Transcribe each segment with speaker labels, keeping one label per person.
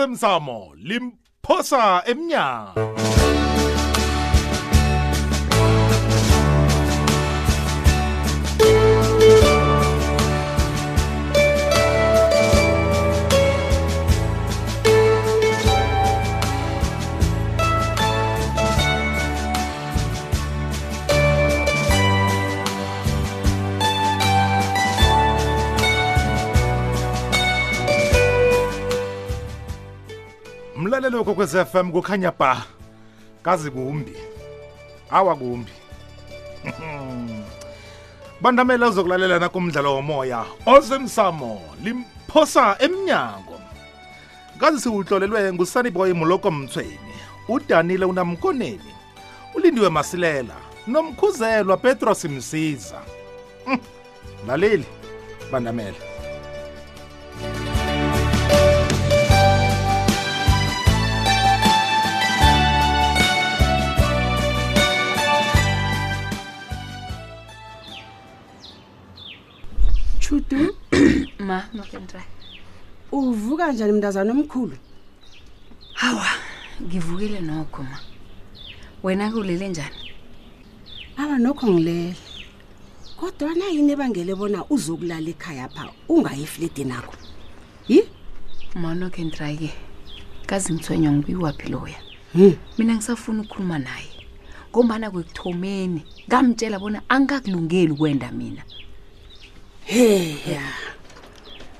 Speaker 1: osemsamo limphosa emnyango mlalelo kokwez FM kukhanya ba kazi kumbi awa kumbi bandamela uzokulalela nakumdlalo womoya osemsamo limphosa emnyango kazi siwuhlolelwe ngusaniboy muloko mthweni udanile unamkoneni ulindiwe masilela nomkhuzelwa petros msiza Mm, laleli bandamela
Speaker 2: chutu
Speaker 3: ma nothing try
Speaker 2: uvuka njani mntazana omkhulu
Speaker 3: hawa ngivukile nokho ma wena ke ulele njani
Speaker 2: aba nokho ngilele kodwa na yini ebangele bona uzokulala ekhaya pha ungayi efledini akho yi
Speaker 3: ma nothing try ke kazi ngithwenywa ngibiwaphi loya
Speaker 2: Hmm.
Speaker 3: mina ngisafuna ukukhuluma naye ngombana kwekuthomeni ngamtshela bona angakulungeli kwenda mina
Speaker 2: heya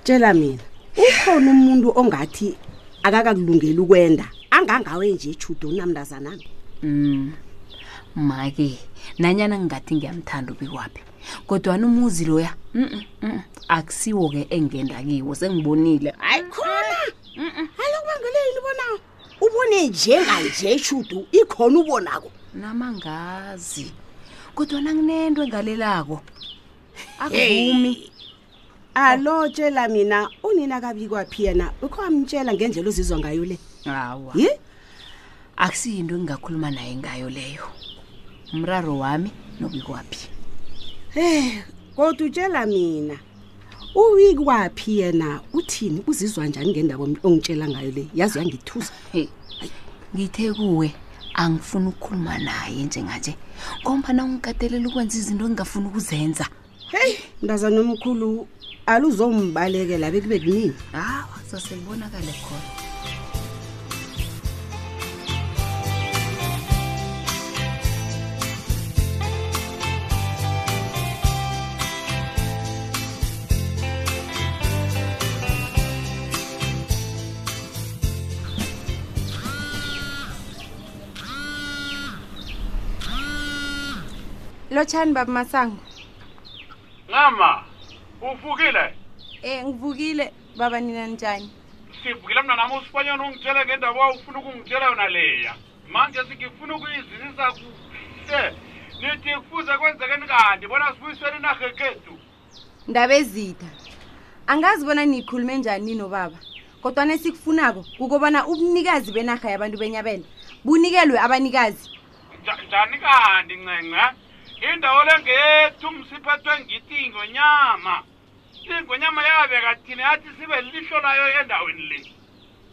Speaker 2: tshela mina ukhona umuntu ongathi akakakulungeli ukwenda angangawe nje chutu unamntazanami
Speaker 3: mm. ma ke nanyana ngingathi ngiyamthanda ubiwaphi kodwana umuzi loya mm -mm, mm, akusiwo-ke engenda kiwo sengibonile
Speaker 2: hayi khona alokubangele yini ubonawo ubone njenganje chutu ikhona ubonako
Speaker 3: namangazi kodwa nanginento engalelako akuvumi
Speaker 2: alo tshela mina unina kabikwaphi yena ukho wamtshela ngendlela ozizwa ngayo le
Speaker 3: hawa
Speaker 2: yi
Speaker 3: akusiyinto engingakhuluma naye ngayo leyo umraro wami nobikwaphi
Speaker 2: Eh, kodwa utshela mina. Uyikwaphi yena? Uthini? Uzizwa njani ngendaba om- ongitshela ngayo le? Yazi uyangithusa.
Speaker 3: hey ngithe kuwe angifuni ukukhuluma naye njenganje ngombana ungikatelela ukwenza izinto engingafuni ukuzenza
Speaker 2: Hey, ndazana omkhulu aluzombalekela bekube kunini.
Speaker 3: hawa sosebonakale khona
Speaker 4: lotshani baba masango
Speaker 5: Ngama, ufukile.
Speaker 4: um ngivukile baba nina njani
Speaker 5: Sivukile mna nami usifanyana ungitshela ngendaba ufuna ukungitshela yona leya. Manje sikifuna ukuyizinisa kuhle. Nithi kufuze kwenzeke kanti bona sibuyisweni nahekethu.
Speaker 4: ndaba ezitha angazi bona niyikhulume njani ninobaba kodwana esikufunako kukobana ubunikazi benarha yabantu benyabela bunikelwe abanikazi
Speaker 5: Njani kanti ncenga? Indawo lengethu msiphethwe ngithi ngonyama. Ingonyama yabeka thina yathi sibe lihlo layo endaweni le.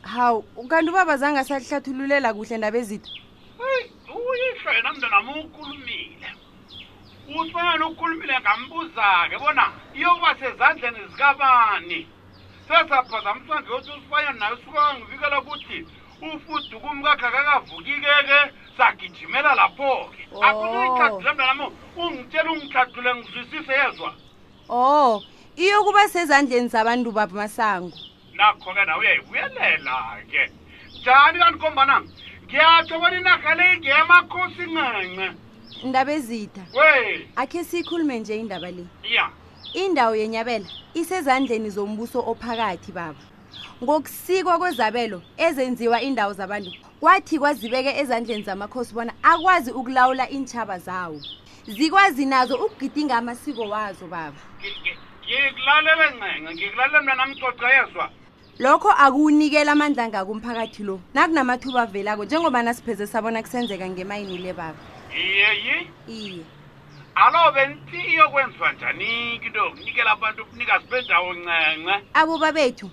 Speaker 4: hawu kanti ubaba zange asahlathululela kuhle ndaba ezitha
Speaker 5: Hey, uyisho yena mntu nami ukhulumile usifanyana ukhulumile ngambuza-ke bona iyokuba sezandleni zikabani sesaphazamisa ngeyothi usifanyana nayo sukangivikela ukuthi ufudukumi kakhe akakavuki-ke-ke sagijimela lapho-ke
Speaker 4: Oh.
Speaker 5: akunihladule mntu nami ungitshela ungihladule ngizwisise yezwa
Speaker 4: o Oh, iyokuba sezandleni zabantu baba masango
Speaker 5: nakho-ke nawe uyayibuyelela-ke njani kanti kombana ngiyatsho bona inarha le ingeyamakhosi nqenqe
Speaker 4: ndaba ezitha
Speaker 5: we
Speaker 4: akhe siyikhulume nje indaba le
Speaker 5: ya
Speaker 4: indawo yenyabela isezandleni zombuso ophakathi baba ngokusikwa kwezabelo ezenziwa indawo zabantu kwathi kwazibeke ezandleni zamakhosi bona akwazi ukulawula iintshaba zawo zikwazi nazo ukugidinga amasiko wazo baba
Speaker 5: ngikulalele ncenga ngikulalela mna namcoca yezwa
Speaker 4: lokho akuwunikela amandla ngakumphakathi lo nakunamathuba avelako njengoba nasipheze sabona kusenzeka ngemayini le baba
Speaker 5: iyeyi
Speaker 4: iye
Speaker 5: alobe nti iyokwenziwa njani-ke into yokunikela abantu ubunikazi bendawo ncence
Speaker 4: abo babethu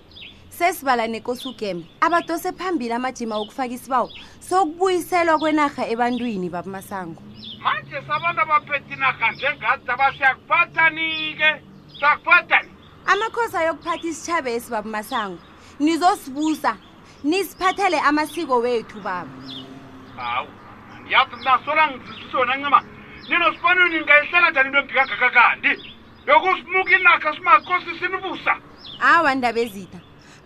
Speaker 4: sesibala nekosugembe abadose phambili amajima wokufaka isibawo sokubuyiselwa kwenarha ebantwini babamasango
Speaker 5: manje sabantu abaphethe inarha njengadi aba siyakuphathani-ke siyakuphathani
Speaker 4: amakhosi ayokuphatha isitshaba esibaba masango nizosibusa nisiphathele amasiko wethu baba
Speaker 5: hawu yazi nasola ngizisona ncema ninosipanini ngayihlala njani into embhikagaka kanti yokusimuka inarha simakhosi sinibusa
Speaker 4: awa ndaba ezitha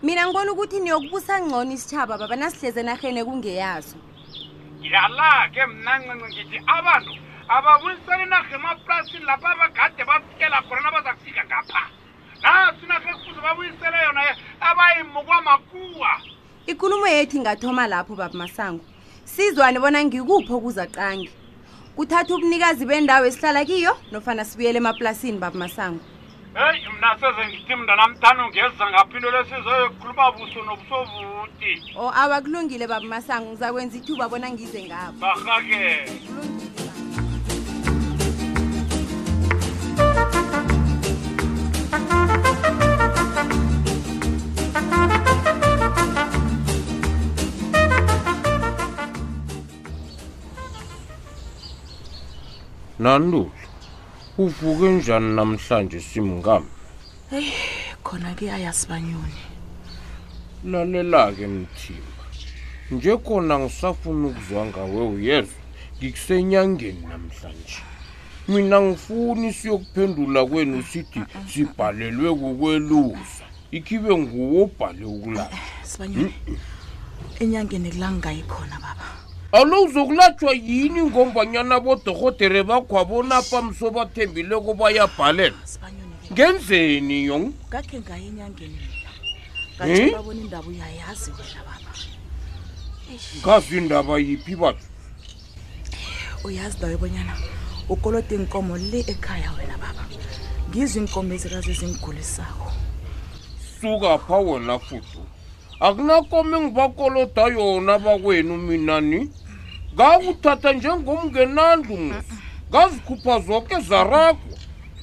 Speaker 4: mina ngibona ukuthi niyokubusa ngcono isitshaba baba nasihleze enarheni ekungeyazo
Speaker 5: yala-ke mnancinci ngithi abantu ababuyisani inarha emaplasini lapha abagade bafikela khona nabaza kufika ngapha nasi inarha ekufuze babuyisele yona abayimukwa makuwa
Speaker 4: ikulumo yethu ingathoma lapho baba masango sizwane bona ngikupho kuzacange kuthatha ubunikazi bendawo esihlala kiyo nofana sibuyele emaplasini baba masango
Speaker 5: heyi mna seze ngithi mntanamthani ungeza ngapha into lesizoyokhuluma buso nobusovuti
Speaker 4: o awakulungile Oh, baba masango ngizakwenza ithuba bona ngize ngabo
Speaker 5: barhakela
Speaker 4: Kulungile, baba.
Speaker 6: nandulo uvuke njani namhlanje simngami
Speaker 2: khona ke ayasibanyoni
Speaker 6: lalela-ke mthimba nje kona ngisafuna ukuzwa ngawe uyezwa ngikusenyangeni namhlanje mina ngifuni siyokuphendula kwenu sithi sibhalelwe kukwelusa ikhibe nguwo obhale ukulala
Speaker 2: sibanyoni enyangeni kulangayi khona baba
Speaker 6: alo uzokulatshwa yini ngombanyana bodorhotere bakhwabonapha mso bathembileko bayabhalela
Speaker 2: sibanyoni ke
Speaker 6: ngenzeni yong
Speaker 2: ngakhe ngaye enyangeni mina
Speaker 6: Hmm?
Speaker 2: ngathi babona indaba uyayazi wena baba
Speaker 6: ngazi indaba yiphi batho
Speaker 2: uyazi dawe bonyana ukolote inkomo le ekhaya wena baba ngizo iinkomo ezikazi ezingugulisako
Speaker 6: suka pha wena futhi akunakomi ngibakoloda yona bakwenu mina ni ngakuthatha njengomngenandlu mos ngazikhupha zoke zaragwa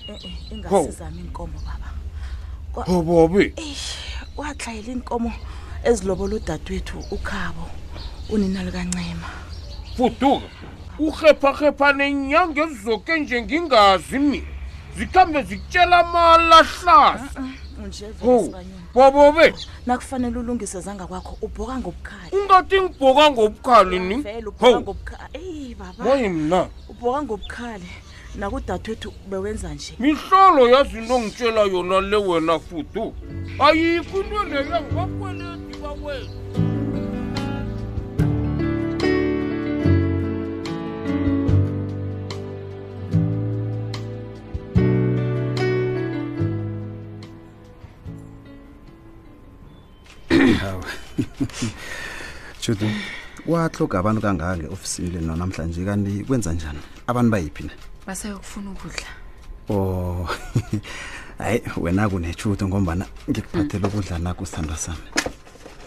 Speaker 2: e-e
Speaker 6: Ho.
Speaker 2: Eh, ingasizami iinkomo baba
Speaker 6: bababe
Speaker 2: eish watlayela iinkomo ezilobola udadewethu ukhabo unina likancema
Speaker 6: fuduka urhephakghepha nenyanga ezizoke nje ngingazi mina zikhambe zikutshela
Speaker 2: Eh, Ah.
Speaker 6: amalahlasa
Speaker 2: nje
Speaker 6: ho
Speaker 2: vesibanyoni
Speaker 6: bababe
Speaker 2: nakufanele ulungise zangakwakho ubhoka ngobukhali
Speaker 6: ungathi ngibhoka ngobukhali ni
Speaker 2: vele ubhoka
Speaker 6: ho
Speaker 2: ngobukhali eyi baba
Speaker 6: moye mna
Speaker 2: ubhoka ngobukhali nakudadewethu bewenza nje
Speaker 6: mihlolo yazinto ngitshela yona le wena fudu ayikho into leyo ngabakweleti bakwena
Speaker 7: judu kwahloga abantu kangaka nge-ofisini leno namhlanje kanti kwenza njani abantu bayiphi na
Speaker 3: basayokufuna ukudla
Speaker 7: o Oh, hayi wena kunejudu ngombana ngikuphathele ukudla nakho sithandwa sami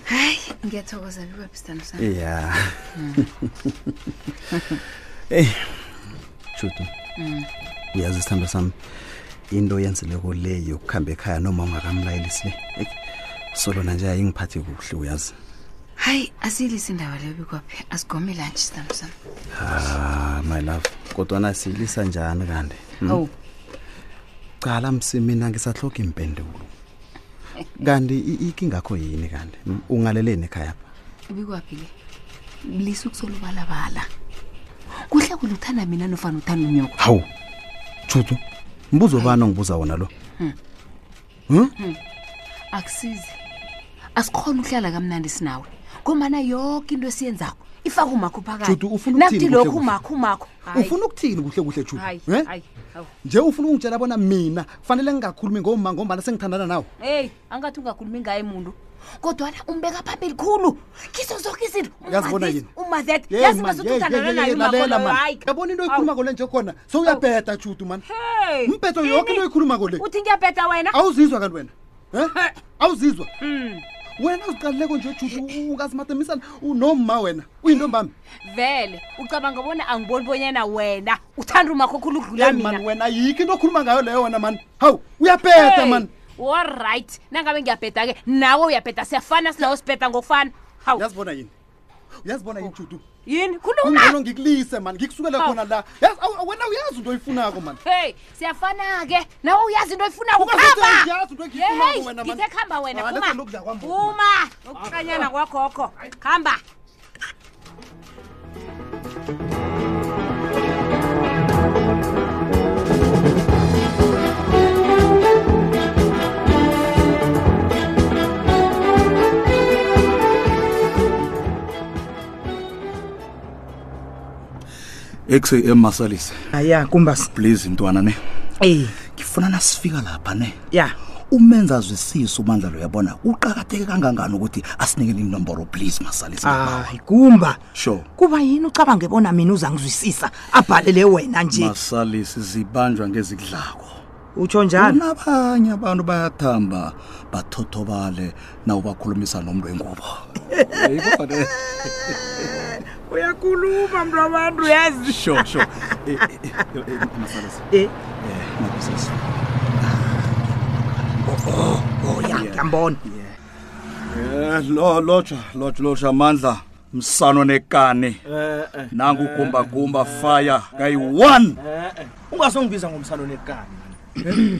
Speaker 3: hayi ngiyathokoza bibabistano sami Hmm.
Speaker 7: ya eyi judu uyazi isithando sami into yenzeleko le yokuhamba ekhaya noma ungakamlayelisi le solona nje ayingiphathi kuhle uyazi
Speaker 3: hayi asiyilisi indaba leyo bikwaphi asigome lanje sitano sami
Speaker 7: ah my love kodwana siyilisa njani kanti mm?
Speaker 3: owu
Speaker 7: cala msi mina ngisahloka impendulo kanti i- ikinga kho yini kanti Mm, ungaleleni ekhaya apha
Speaker 3: bikwaphi le lisa ukusolubalabala kuhle kuhle uthanda mina nofana uthanda unyoko
Speaker 7: hawu judu mbuzo bani ongibuza wona lo
Speaker 3: akusizi asikhona ukuhlala kamnandi sinawe ngombana yonke into esiyenzako ifaka umakho
Speaker 7: Judu, ufuna ukuthini kuhle
Speaker 3: lokhu
Speaker 7: kuhle?
Speaker 3: umakho umakho Hayi,
Speaker 7: ufuna ukuthini kuhle kuhle judu
Speaker 3: hayi,
Speaker 7: Eh?
Speaker 3: hayi, hawu.
Speaker 7: nje ufuna ukungitshela bona mina kufanele ngingakhulumi ngoma ngombana sengithandana nawe
Speaker 3: heyi angathi ungakhulumi ngaye muntu kodwana umbeka phambili khulu kiso zoke izinto
Speaker 7: Yazibona yini?
Speaker 3: umatheta
Speaker 7: Ye,
Speaker 3: yazi
Speaker 7: man,
Speaker 3: basuthi
Speaker 7: ye,
Speaker 3: uthandana
Speaker 7: ye, ye,
Speaker 3: naye
Speaker 7: ye, lalela, man.
Speaker 3: umakho
Speaker 7: yabona into oyikhuluma kole nje khona sowuyabheda judu mani mphetho yonke into oyikhuluma kole
Speaker 4: uthi ngiyabheda wena
Speaker 7: awuzizwa kanti wena Eh? awuzizwa
Speaker 3: Hmm.
Speaker 7: wena uziqaluleko nje judu ungazimatemisana unoma wena uyintombami
Speaker 3: vele ucabanga bona angiboni bonyana wena uthanda umakho khulu ukudlula
Speaker 7: Hey, man,
Speaker 3: mina
Speaker 7: wena yikho into okhuluma ngayo leyo wena mani hawu uyapeta
Speaker 3: Hey,
Speaker 7: mani
Speaker 3: allright nangabe ngiyabheda ke nawe uyabheda siyafana silawo sibheda ngokufana hawu
Speaker 8: uyazibona yini uyazibona yini judu
Speaker 3: yini khuluma
Speaker 8: kungcono ngikulise mani ngikusukele
Speaker 3: Hawu.
Speaker 8: khona la Yazi, awu, wena uyazi into oyifunako mani
Speaker 3: hey siyafana-ke nawe uyazi into efuna
Speaker 8: Ungazothi
Speaker 3: ukuhamba
Speaker 8: angiyazi into engiyifunako wena, man.
Speaker 3: ngithe kuhamba wena
Speaker 8: Ah,
Speaker 3: phuma
Speaker 8: letha lokudla kwami,
Speaker 3: phuma ukuhlanyana kwagogo kuhamba
Speaker 9: XAM Masalisa.
Speaker 10: aya kumbasi
Speaker 9: Please ntwana ne.
Speaker 10: ey
Speaker 9: Ngifuna nasifika lapha ne.
Speaker 10: Eh. ya
Speaker 9: Umenza zwisisa umandla lo yabona. Uqhakatheke kangangani ukuthi asinikele inombolo please Masalisa. ngibawa.
Speaker 10: hayi kumba
Speaker 9: Sure.
Speaker 10: kuba yini ucabange bona mina uzangizwisisa abhalele wena nje
Speaker 9: Masalisa zibanjwa ngezidlako.
Speaker 10: utsho njalo
Speaker 9: Kunabanye abantu bayathamba bathothobale nawo bakhulumisa nomuntu wengubo. Yikho ne.
Speaker 10: uyakhuluma mntu abantu uyazi
Speaker 9: Sure, sure. Eh, eh, eh, eh, Masalisa.
Speaker 10: Eh.
Speaker 9: Eh, mabusisi.
Speaker 10: oya ngiyambona
Speaker 9: Eh, lo lotsha lotsha lotsha amandla msano nekani
Speaker 8: Eh,
Speaker 9: nangu gumba gumba fire kayi one
Speaker 8: Eh, ungasongibiza ngomsano nekani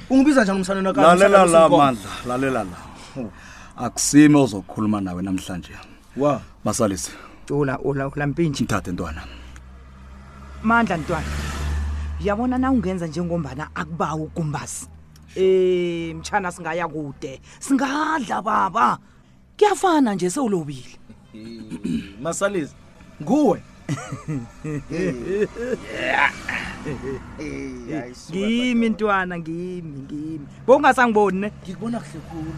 Speaker 8: ungibiza njani umsano nekani?
Speaker 9: Eh. lalela
Speaker 8: Umsana
Speaker 9: la
Speaker 8: wesinkomo.
Speaker 9: mandla lalela la akusime ozokhuluma nawe namhlanje
Speaker 8: wa
Speaker 9: masalisi
Speaker 10: ola ola ola mpintshi
Speaker 9: mthathe ntwana
Speaker 10: mandla ntwana yabona na ungenza njengombana akubawa ugumbasi um mtshana singaya kude singadla baba kuyafana nje sewulobile
Speaker 8: masalisa nguwe
Speaker 10: ngimi ntwana ngimi ngimi bokungasangiboni ne
Speaker 8: ngikubona kuhle khulu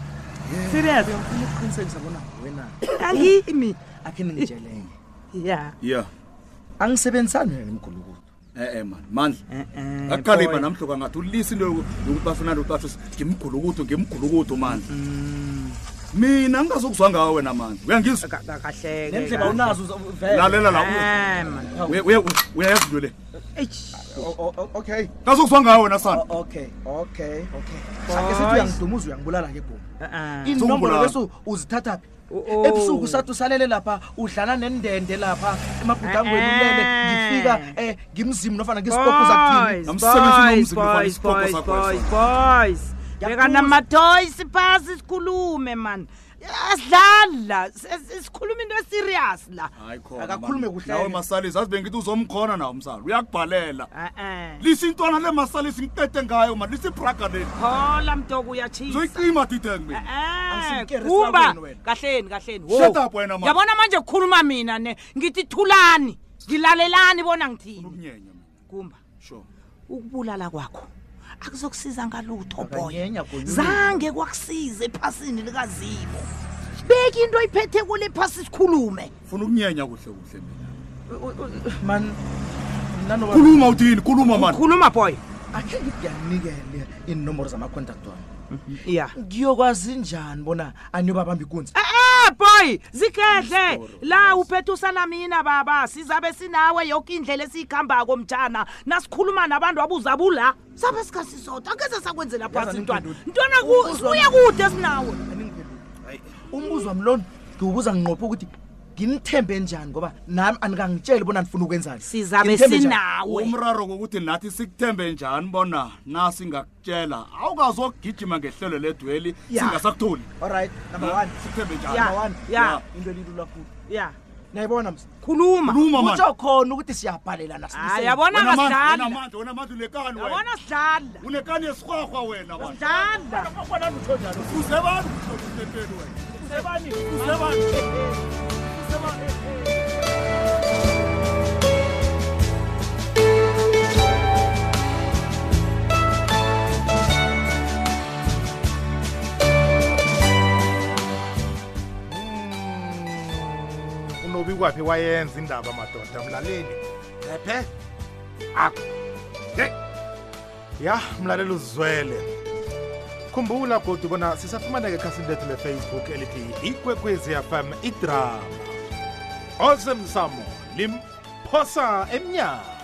Speaker 10: serious
Speaker 8: ngifuna ukuqinisekisa bona wena
Speaker 10: angimi
Speaker 8: akhe ningitshelenge
Speaker 10: ya
Speaker 9: yeah
Speaker 8: angisebenzisani wena nemgulukulu
Speaker 9: eh eh man mandla
Speaker 10: Eh,
Speaker 9: akukhalipha
Speaker 10: boy.
Speaker 9: namhloka ngathi ulisi into yoku- yokuthi bafuna lokuthi basho ngimgulukuthu ngimgulukuthu mandla
Speaker 10: Mm.
Speaker 9: mina ngingazokuzwa ngawe wena mandla uyangizwa
Speaker 10: Ka- ka- kahleke
Speaker 8: nendleba
Speaker 10: kahle.
Speaker 8: unazo uza- vele
Speaker 9: lalela la
Speaker 10: Eh, man.
Speaker 9: uya- uya- uyayazi into le
Speaker 10: Eish.
Speaker 8: O- o- o- okay
Speaker 9: ngazokuzwa ngawe wena sana
Speaker 8: O- okay okay okay ake sithi uyangidumuza uyangibulala ke bhoma
Speaker 10: Eh, eh.
Speaker 8: inombolo
Speaker 9: Sokubulala.
Speaker 8: bese uzithatha phi
Speaker 10: Oh, oh.
Speaker 8: ebusuku sathi usalele lapha udlala nendende lapha emabhudangweni
Speaker 10: Eh, eh.
Speaker 8: ulele ngifika um ngimzimu nofana ngisiboko
Speaker 10: Boys,
Speaker 8: zakuthini
Speaker 10: boys,
Speaker 9: Namsebenzini womzimba ufana
Speaker 10: boys,
Speaker 9: isibopho
Speaker 10: boys,
Speaker 9: sakho
Speaker 10: boys,
Speaker 9: leso.
Speaker 10: boys.
Speaker 8: Ngiyakuzwa.
Speaker 10: beka namatoyisi phasi sikhulume mani asidlali la si- sikhuluma into eserious la
Speaker 9: hayi khona
Speaker 8: Akakhulume
Speaker 9: man.
Speaker 8: kuhle.
Speaker 9: nawe masalisi azi bengithi uzomkhona nawo msala uyakubhalela
Speaker 10: e-e
Speaker 9: lisintwana le masalisi ngitete ngayo ma lisibraga leli
Speaker 10: khola mtoko uyatshisa
Speaker 9: zoyicima titeng mina
Speaker 8: Angisimkeri
Speaker 10: kumba
Speaker 8: esibabeni wena.
Speaker 10: eh, kahleni kahleni
Speaker 9: Shut up wena, man.
Speaker 10: yabona manje kukhuluma mina ne ngithi thulani ngilalelani bona ngithini
Speaker 9: umnyenya mina
Speaker 10: kumba
Speaker 9: sure
Speaker 10: ukubulala kwakho akuzokusiza ngalutho boy
Speaker 8: Akanyenya, gonyulile.
Speaker 10: zange kwakusiza ephasini likazimo beka into iphethe kule phasi sikhulume
Speaker 9: funa ukunyenya kuhle kuhle mina
Speaker 8: man nanoba
Speaker 9: khuluma uthini khuluma mani
Speaker 10: khuluma boy
Speaker 8: akhe ngithi ngiyanikele iinomboro zama-contact wami
Speaker 10: ya
Speaker 8: ngiyokwazi njani bona aniyobabamba ikunzi
Speaker 10: ee eh, boy zikhehle la uphethe usanamina baba sizabe sinawe yoke indlela esiyikhambako mtshana nasikhuluma nabantu abuzabula sabe sikasisodwa angeze sakwenzela phasi
Speaker 8: Yazani
Speaker 10: ntwana
Speaker 8: ngiphendule.
Speaker 10: ntwana ku- uye kude sinawe
Speaker 8: umbuzo wami lona ngiwubuza nginqopha ukuthi nginithembe njani ngoba nami anikangitsheli bona nifuna ukwenzani
Speaker 10: sizabe
Speaker 8: Nginithembe njani?
Speaker 10: sinawe
Speaker 9: umraro kokuthi nathi sikuthembe njani bona nasingakutshela awukazokugijima ngehlelo ledweli
Speaker 8: Ya.
Speaker 9: singasakutholi
Speaker 8: alright number one
Speaker 9: sikuthembe
Speaker 10: Ya.
Speaker 8: number one
Speaker 10: Ya.
Speaker 8: into elilula khulu
Speaker 10: ya
Speaker 8: nayibona msa
Speaker 10: khuluma
Speaker 9: khuluma mani
Speaker 8: kutsho khona ukuthi siyabhalelana
Speaker 10: hayi
Speaker 8: silisele.
Speaker 10: yabona
Speaker 9: Wena mandla, wena
Speaker 10: kasidlala
Speaker 9: mandla, wena mandla unekani wena
Speaker 10: yabona sidlala
Speaker 9: unekani esirhwarhwa wena man
Speaker 10: sidlala
Speaker 9: usebantu usebantu wena usebani usebani
Speaker 1: unobi kwaphi wayenza indaba madoda mlaleli ephe akho hey ya mlaleli uzwele khumbula godu bona sisafumaneka ekhasini lethu lefacebook elithi ikwekwezi fm idrama ozemsamo limphosa emnyango